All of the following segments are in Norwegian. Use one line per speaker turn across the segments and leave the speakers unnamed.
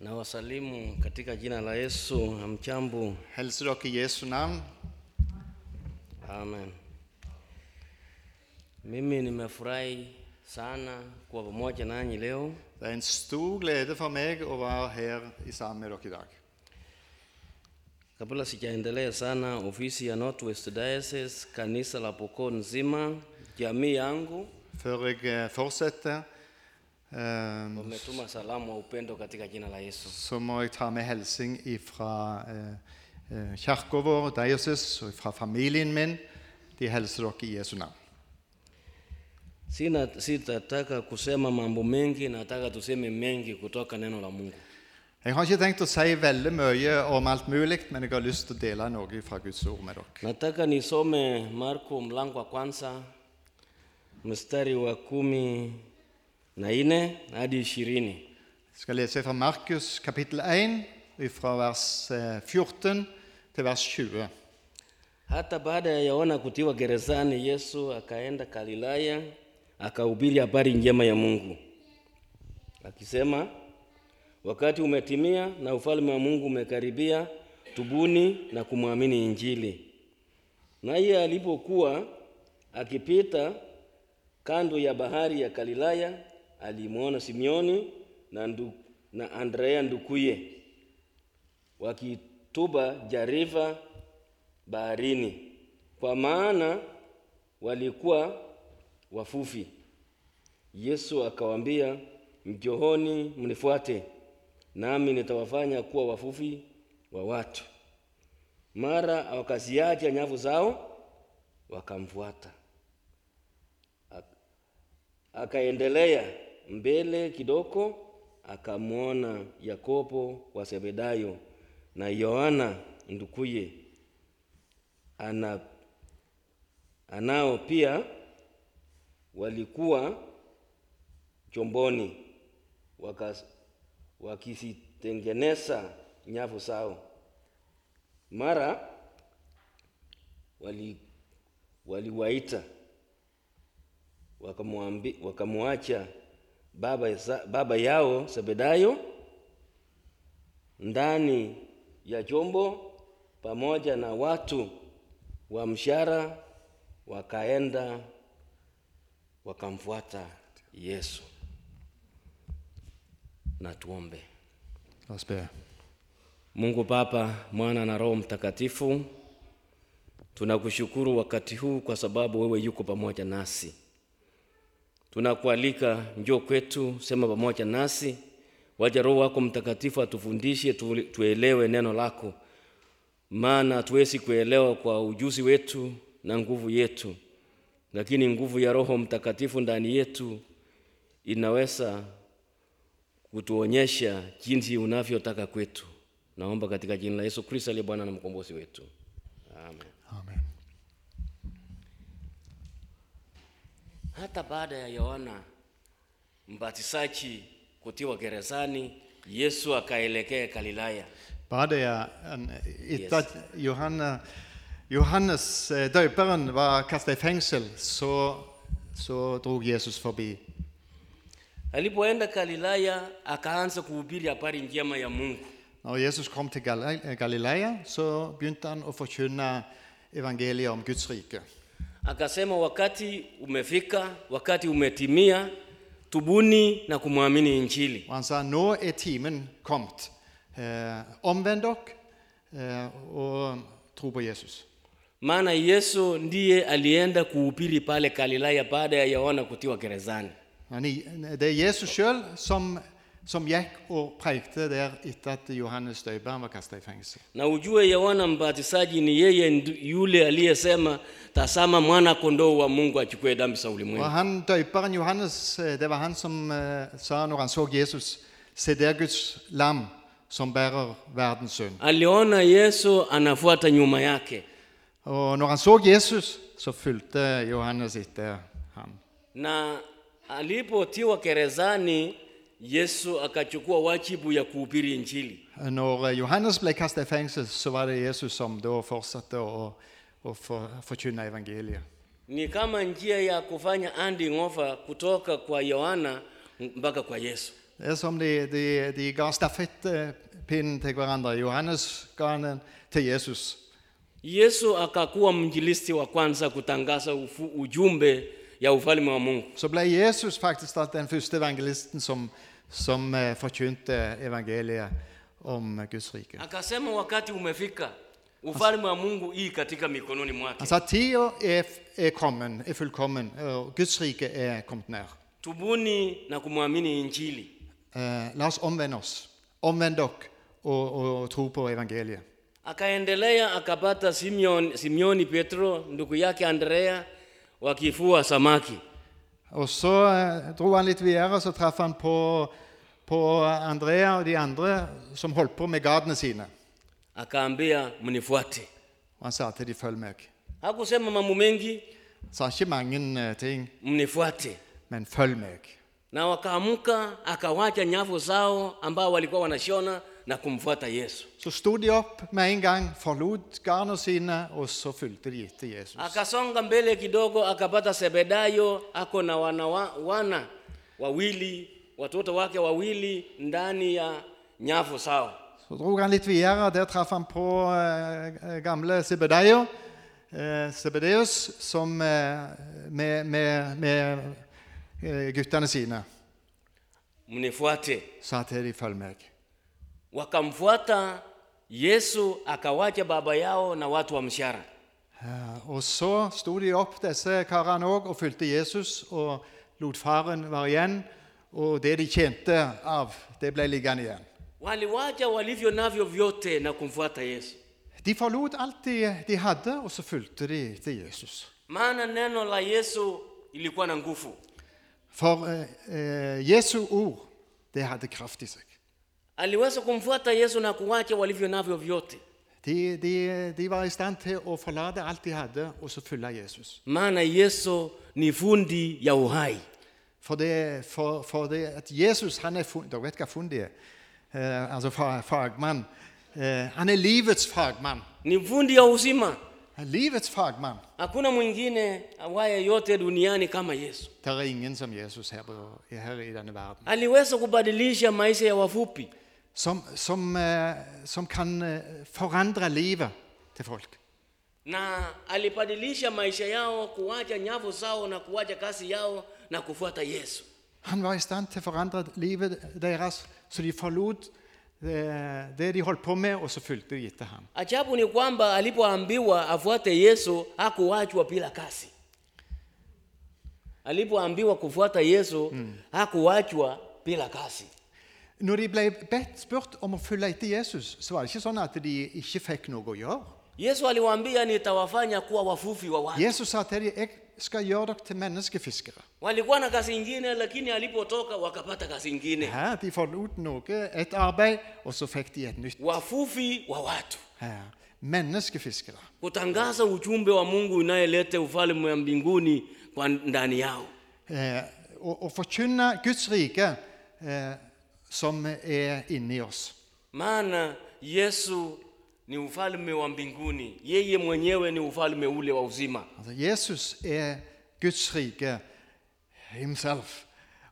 Nawasalimu katika jina la Yesu. Hamjambo?
Hilser dere i Jesu navn.
Amen. Mimi nimefurahi sana kuwa pamoja nanyi leo.
Det er en stor glede for meg å være her i sammen med dere i dag.
Kabla sijaendelea sana, ofisi ya Northwest Diocese, kanisa la Pokot nzima, jamii yangu
Før jeg eh, fortsetter, eh,
wametuma salamu wa upendo katika jina la Yesu.
så må jeg ta med hilsing fra kirka eh, vår, Diocese, og fra familien min. De hilser dere i Jesu navn.
Sina, sitataka kusema mambo mengi, nataka tuseme mengi kutoka neno la Mungu.
Jeg har ikke tenkt å si veldig mye om alt mulig, men jeg har lyst til å dele noe fra Guds ord med dere.
Nataka nisome Marko mlango wa kwanza mstari wa kumi na nne hadi ishirini.
Jeg skal lese fra Markus kapittel 1, fra vers eh, 14 til vers 20.
Hata baada ya Yohana kutiwa gerezani, Yesu akaenda Galilaya akahubiri habari njema ya Mungu akisema, wakati umetimia na ufalme wa Mungu umekaribia, tubuni na kumwamini Injili. Naye alipokuwa akipita kando ya bahari ya Galilaya, alimwona Simioni na, ndu, na Andrea ndukuye wakituba jarifa baharini, kwa maana walikuwa wafufi. Yesu akawaambia, mjohoni mnifuate, nami nitawafanya kuwa wafufi wa watu. Mara wakaziacha nyavu zao, wakamfuata. Ak- Akaendelea mbele kidogo, akamwona Yakobo wa Zebedayo na Yohana ndukuye ana, anao pia walikuwa chomboni wakas- wakizitengeneza nyavu zao. Mara wali- waliwaita wakamwambi- wakamwacha baba, za- baba yao Zebedayo ndani ya chombo pamoja na watu wa mshara, wakaenda wakamfuata Yesu. Na tuombe.
La oss be.
Mungu Baba, Mwana na Roho Mtakatifu, tunakushukuru wakati huu kwa sababu wewe yuko pamoja nasi. Tunakualika, njoo kwetu, sema pamoja nasi, waja Roho wako Mtakatifu atufundishe, tu- tuelewe neno lako, maana hatuwezi kuelewa kwa ujuzi wetu na nguvu yetu, lakini nguvu ya Roho Mtakatifu ndani yetu inaweza kutuonyesha jinsi unavyotaka kwetu. Naomba katika jina la Yesu Kristo aliye Bwana na mkombozi wetu, amen.
Amen.
Hata baada ya Yohana Mbatizaji kutiwa gerezani, Yesu akaelekea Galilaya.
Bare det en, etter at Johanne, Johannes eh, døperen var kastet i fengsel, så, så drog Jesus forbi.
Alipoenda Galilaya, akaanza kuhubiri habari njema ya Mungu.
Når Jesus kom til Gal- eh, Galilea, så begynte han å forkynne evangeliet om Guds rike.
Akasema, wakati umefika, wakati umetimia, tubuni na kumwamini Injili.
Og han sa, nå er timen kommet. Eh, omvend dere eh, og tro på Jesus.
Maana Yesu ndiye alienda kuhubiri pale Galilaya baada ya Yohana kutiwa gerezani.
Men i- det er Jesus sjøl som, som gikk og preikte der etter at Johannes døperen var kastet i fengsel.
Na ujue Yohana Mbatizaji ni yeye ndu- yule aliyesema, tazama mwana kondoo wa Mungu achukue dhambi za
Og
ulimwengu.
han, Døperen Johannes eh, det var han som eh, sa når han så Jesus Se der Guds lam som bærer verdens synd.
Aliona Yesu anafuata nyuma yake,
Og når han så Jesus, så fulgte Johannes etter ham.
na alipotiwa gerezani, Yesu akachukua wajibu ya kuhubiri Injili.
Når eh, Johannes ble kastet i fengsel, så var det Jesus som da fortsatte å, å for, forkynne evangeliet.
Ni kama njia ya kufanya handing over kutoka kwa Yohana mpaka kwa Yesu.
Det er som de, de, de ga stafettpinnen til hverandre. Johannes ga den til Jesus.
Yesu akakuwa mjilisti wa kwanza kutangaza ufu, ujumbe ya ufalme wa Mungu.
Så ble Jesus faktisk da den første evangelisten som, som eh, forkynte evangeliet om Guds rike.
Akasema wakati umefika, ufalme wa Mungu i katika mikononi mwake.
Han sa tida er, er kommet, er fullkommen, og Guds rike er kommet nær.
Tubuni na kumwamini Injili.
Eh, la oss omvende oss. Omvend dere og, og tro på evangeliet.
Akaendelea akapata Simeon, Simeoni Petro ndugu yake Andrea wakifua samaki.
Og så eh, dro han litt videre, så traff han på, på Andrea og de andre som holdt på med gardene sine.
Akaambia mnifuate.
Og han sa til de, følg meg.
Hakusema mambo mengi,
Sa ikke mange eh, ting,
mnifuate.
men følg meg.
Na wakaamka akawacha nyavu zao ambao walikuwa wanashona na kumfuata Yesu.
Så sto de opp med en gang, forlot garnene sine, og så fulgte de etter Jesus.
Akasonga mbele kidogo akapata Sebedayo ako na wana, wa- wana wawili watoto wake wawili ndani ya nyavu zao.
Så dro han litt videre, og der traff han på eh, gamle Sebedeo, eh, Sebedeus, som eh, med, med, med eh, guttene sine
Mnifuate.
sa til de, følg meg.
Wakamfuata Yesu akawacha baba yao na watu wa mshara.
Eh, Og så sto de opp, disse karene òg, og fulgte Jesus og lot faren være igjen. Og det de tjente av, det ble liggende igjen.
Waliwacha walivyo navyo vyote na kumfuata Yesu.
De forlot alt de, de hadde, og så fulgte de etter Jesus.
Maana neno la Yesu ilikuwa na nguvu.
For eh, eh, Jesu ord, det hadde kraft i seg.
Aliweza kumfuata Yesu na kuwacha walivyo navyo vyote.
De, de, de var i stand til å forlate alt de hadde, og så følge Jesus.
Maana Yesu ni fundi ya uhai.
For, det, for, for det at Jesus han er fun- Dere vet hva fundi er? Eh, altså fa- fagmann. Eh, han er livets fagmann.
Ni fundi ya uzima.
Han er livets fagmann.
Hakuna mwingine awaye yote duniani kama Yesu.
Det er ingen som Jesus her, på, her i denne verden.
Aliweza kubadilisha maisha ya wafupi.
Som, som, eh, som kan eh, forandre livet til folk.
na alibadilisha maisha yao kuwacha nyavu zao na kuwacha kazi yao na kufuata Yesu.
Han var i stand til å forandre livet deres, så de forlot eh, det de holdt på med, og så fulgte de etter ham.
Ajabu ni kwamba alipoambiwa afuate Yesu hakuachwa bila kazi. Alipoambiwa kufuata Yesu hakuachwa bila kazi.
Når de ble bedt, spurt om å følge etter Jesus, så var det ikke sånn at de ikke fikk noe å gjøre.
Yesu aliwaambia nitawafanya kuwa wavuvi wa watu.
Jesus sa til dem jeg skal gjøre dere til menneskefiskere.
Walikuwa na kazi nyingine, lakini alipotoka wakapata kazi nyingine,
Her, de forlot noe, et arbeid, og så fikk de et nytt.
wavuvi wa watu,
Her, menneskefiskere.
kutangaza ujumbe wa Mungu unayeleta ufalme wa mbinguni kwa ndani yao.
Eh, og, og forkynne Guds rike eh, som er inni oss.
maana yesu ni ufalme wa mbinguni yeye mwenyewe ni ufalme ule wa uzima
Altså, Jesus er Guds rike himself,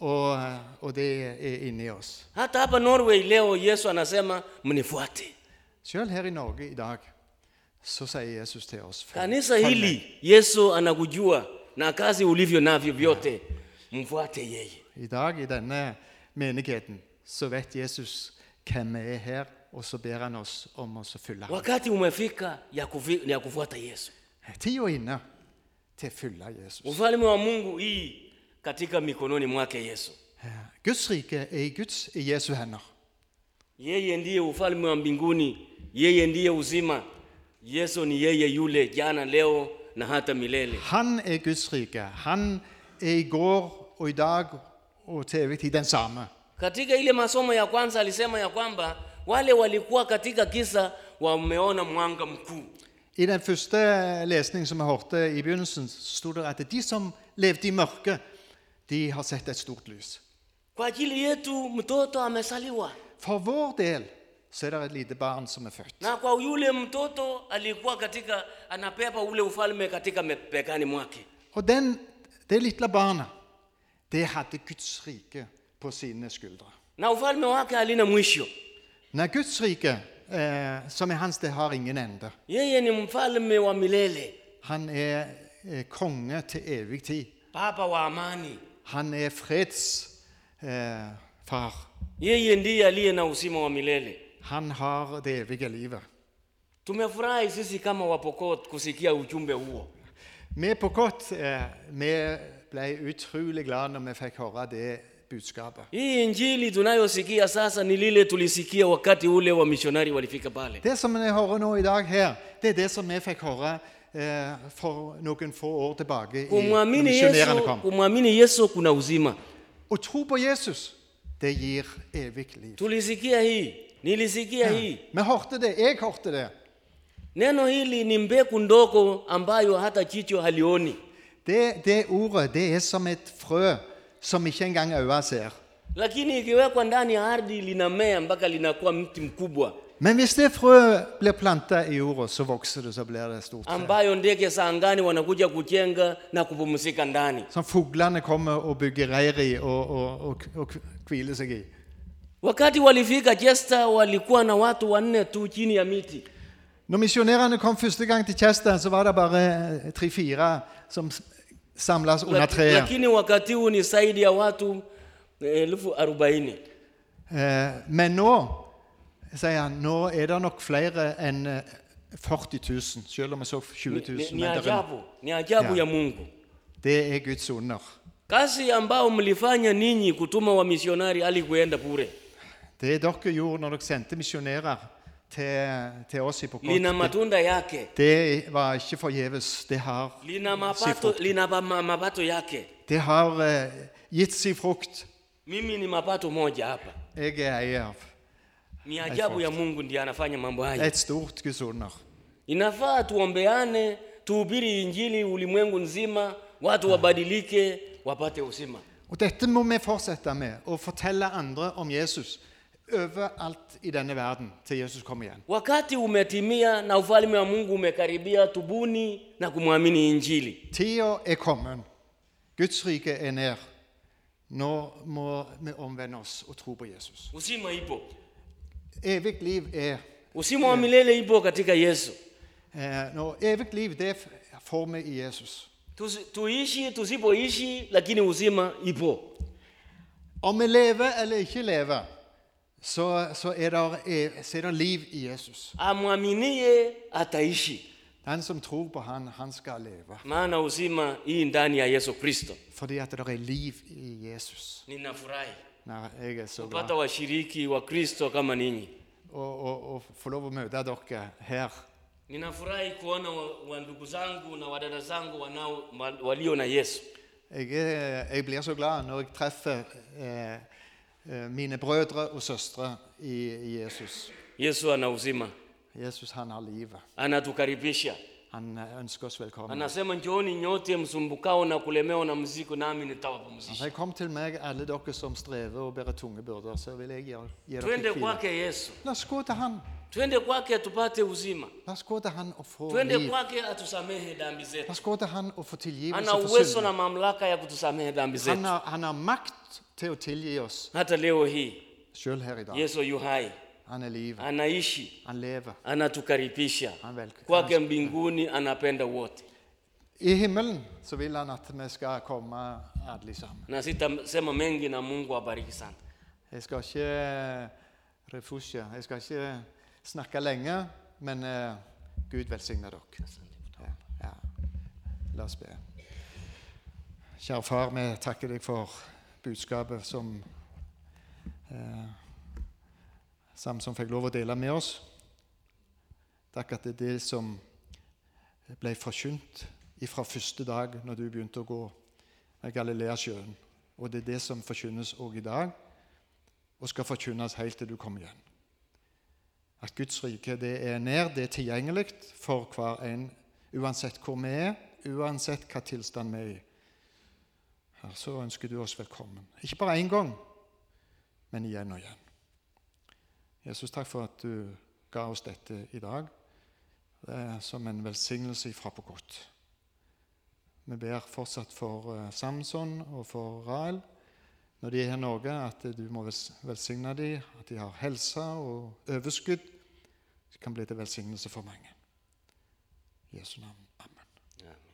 og, og det er inni oss.
hata hapa norway leo yesu anasema mnifuate
Selv her i Norge i dag så sier Jesus til oss følg-
kanisa
følg
hili yesu anakujua na kazi ulivyo navyo vyote mfuate yeye
meg. I dag i denne menigheten så vet Jesus hvem vi er her, og så ber han oss om oss å følge ham.
wakati umefika ya, kufi, ya kufuata yesu
Tida inne til å følge Jesus.
ufalme wa mungu hii katika mikononi mwake yesu
Eh, Guds rike er i Guds, i Jesu hender.
yeye ndiye ufalme wa mbinguni yeye ndiye uzima yesu ni yeye yule jana leo na hata milele
Han er Guds rike. Han er i går og i dag og til evig tid den samme.
Katika ile masomo ya kwanza alisema ya kwamba wale walikuwa katika kisa wameona mwanga mkuu.
I den første lesningen som vi hørte i begynnelsen, så sto det at de som levde i mørket, de har sett et stort lys.
Kwa ajili yetu mtoto amesaliwa,
For vår del så er det et lite barn som er født.
na kwa yule mtoto alikuwa katika anapepa ule ufalme katika mepekani mwake.
Og den, det lille barnet, det hadde Guds rike på sine skuldre.
na ufalme wake halina mwisho.
Nei, Guds rike, eh, som er hans, det har ingen ende.
Yeye ni mfalme wa milele,
Han er eh, konge til evig tid.
Baba wa amani.
Han er fredsfar. Eh, far.
Yeye ndiye aliye na uzima wa milele.
han har det evige livet.
Tumefurahi sisi kama Wapokot kusikia ujumbe huo.
Vi på Kott eh, vi ble utrolig glad når vi fikk høre det budskapet.
Hii injili tunayosikia sasa ni lile tulisikia wakati ule wa mishonari walifika pale.
Det som vi hører nå i dag her, det er det som vi fikk høre eh, for noen få år tilbake i, når
Kumwamini
misjonærene
Yesu,
kom.
kumwamini Yesu kuna uzima.
Å tro på Jesus, det gir evig liv.
Tulisikia hii, nilisikia
Hmm.
hii.
Vi hørte det, jeg hørte det.
Neno hili ni mbegu ndogo ambayo hata jicho halioni,
Det, det ordet, det er som et frø som ikke engang øya ser.
lakini ikiwekwa ndani ya ardhi linamea mpaka linakuwa mti mkubwa
Men hvis det frøet blir planta i jorda, så vokser det, så blir det stort. tre.
ambayo ndege za angani wanakuja kujenga na kupumzika ndani.
Som fuglene kommer og bygger reir i og, og, og, og hviler seg i.
Wakati walifika Chester, walikuwa na watu wanne tu chini ya miti.
Når misjonærene kom første gang til Chester, så var det bare eh, tre-fire som samles under
Laki-
treet.
lakini wakati huu ni zaidi ya watu eh, elfu arobaini.
Eh, Men nå, sier han, nå er det nok flere enn eh, 40 000, selv om vi så 20
Ni,
000.
ni
men det er-
ajabu, ni ajabu
Yeah.
ya Mungu.
Det er Guds under.
Kazi ambao mlifanya ninyi kutuma wamisionari alikuenda bure,
Det dere gjorde når dere sendte misjonærer til, til oss i
lina
Pokot,
matunda yake,
det var ikke forgjeves. Det har,
lina
si
mapato,
frukt.
lina ba- ma- mapato yake.
Det har eh, gitt si frukt.
Mimi ni mapato moja hapa.
Jeg er eier av
Ni ajabu ya Mungu ndiye anafanya mambo haya.
et stort Guds under.
Inafaa tuombeane, tuhubiri injili ulimwengu nzima, watu wabadilike, wapate uzima.
Og dette må vi fortsette med, å fortelle andre om Jesus overalt i denne verden til Jesus kommer igjen.
Wakati umetimia na ufalme wa Mungu umekaribia, tubuni na kumwamini injili.
Tida er kommet. Guds rike er nær. Nå må vi omvende oss og tro på Jesus.
Uzima ipo,
Evig liv er
uzima wa milele ipo katika Yesu.
eh, nå, Evig liv det får vi i Jesus.
Tusi- Tuishi tusipoishi, lakini uzima ipo.
Om vi lever eller ikke lever, så, så, er, der, eh, så er der liv i Jesus.
Amwaminie ataishi,
Den som tror på han, han skal leve.
maana uzima hii ndani ya Yesu Kristo.
Fordi at det er liv i Jesus.
Ninafurahi
Nei, jeg er så glad.
kupata washiriki wa Kristo kama ninyi.
Og, og, og få lov å møte dere her.
Ninafurahi kuona wa, wa ndugu zangu na wadada zangu wanao ma- walio na Yesu.
Jeg, er, jeg blir så glad når jeg treffer eh, eh, mine brødre og søstre i, i Jesus.
Yesu ana uzima,
Jesus, han har livet.
anatukaribisha,
Han eh, ønsker oss velkommen.
anasema njooni nyote msumbukao na kulemewa na mzigo, nami
Han
nitawapumzisha.
sier, kom til meg, alle dere som strever og bærer tunge byrder, så vil jeg gjøre- gi
Twende
dere hvile.
kwake Yesu,
La oss gå til han.
twende kwake tupate uzima,
La oss gå til han og få
twende
liv.
kwake atusamehe dhambi zetu.
La oss gå til han og få tilgivelse
Ana
for
uwezo
synd.
na mamlaka ya kutusamehe dhambi
Han
zetu.
har, han har makt til å tilgi oss
Hata leo hii
sjøl her i dag.
Yesu yu hai,
Han er livet.
anaishi,
Han lever.
anatukaribisha
Han velk-
kwake mbinguni, anapenda wote.
I himmelen så vil han at vi skal komme alle sammen.
na sitasema mengi na mungu abariki sana
Jeg skal ikke eh, refusje. Jeg skal ikke snakke lenge, men eh, Gud velsigne dere. Ja, ja. La oss be. Kjære far, vi takker deg for budskapet som eh, Samson fikk lov å dele med oss. Takk at det er det som ble forkynt fra første dag når du begynte å gå ved Galileasjøen. Og det er det som forkynnes òg i dag, og skal forkynnes helt til du kommer igjen. At Guds rike det er nær, det er tilgjengelig for hver en, uansett hvor vi er, uansett hva tilstand vi er i. Her så ønsker du oss velkommen. Ikke bare én gang, men igjen og igjen. Jesus, takk for at du ga oss dette i dag. Det er som en velsignelse ifra på godt. Vi ber fortsatt for eh, Samson og for Rael. når de er her i Norge, at du må vels- velsigne dem, at de har helse og overskudd. Det kan bli til velsignelse for mange. I Jesu navn. Amen.
Amen.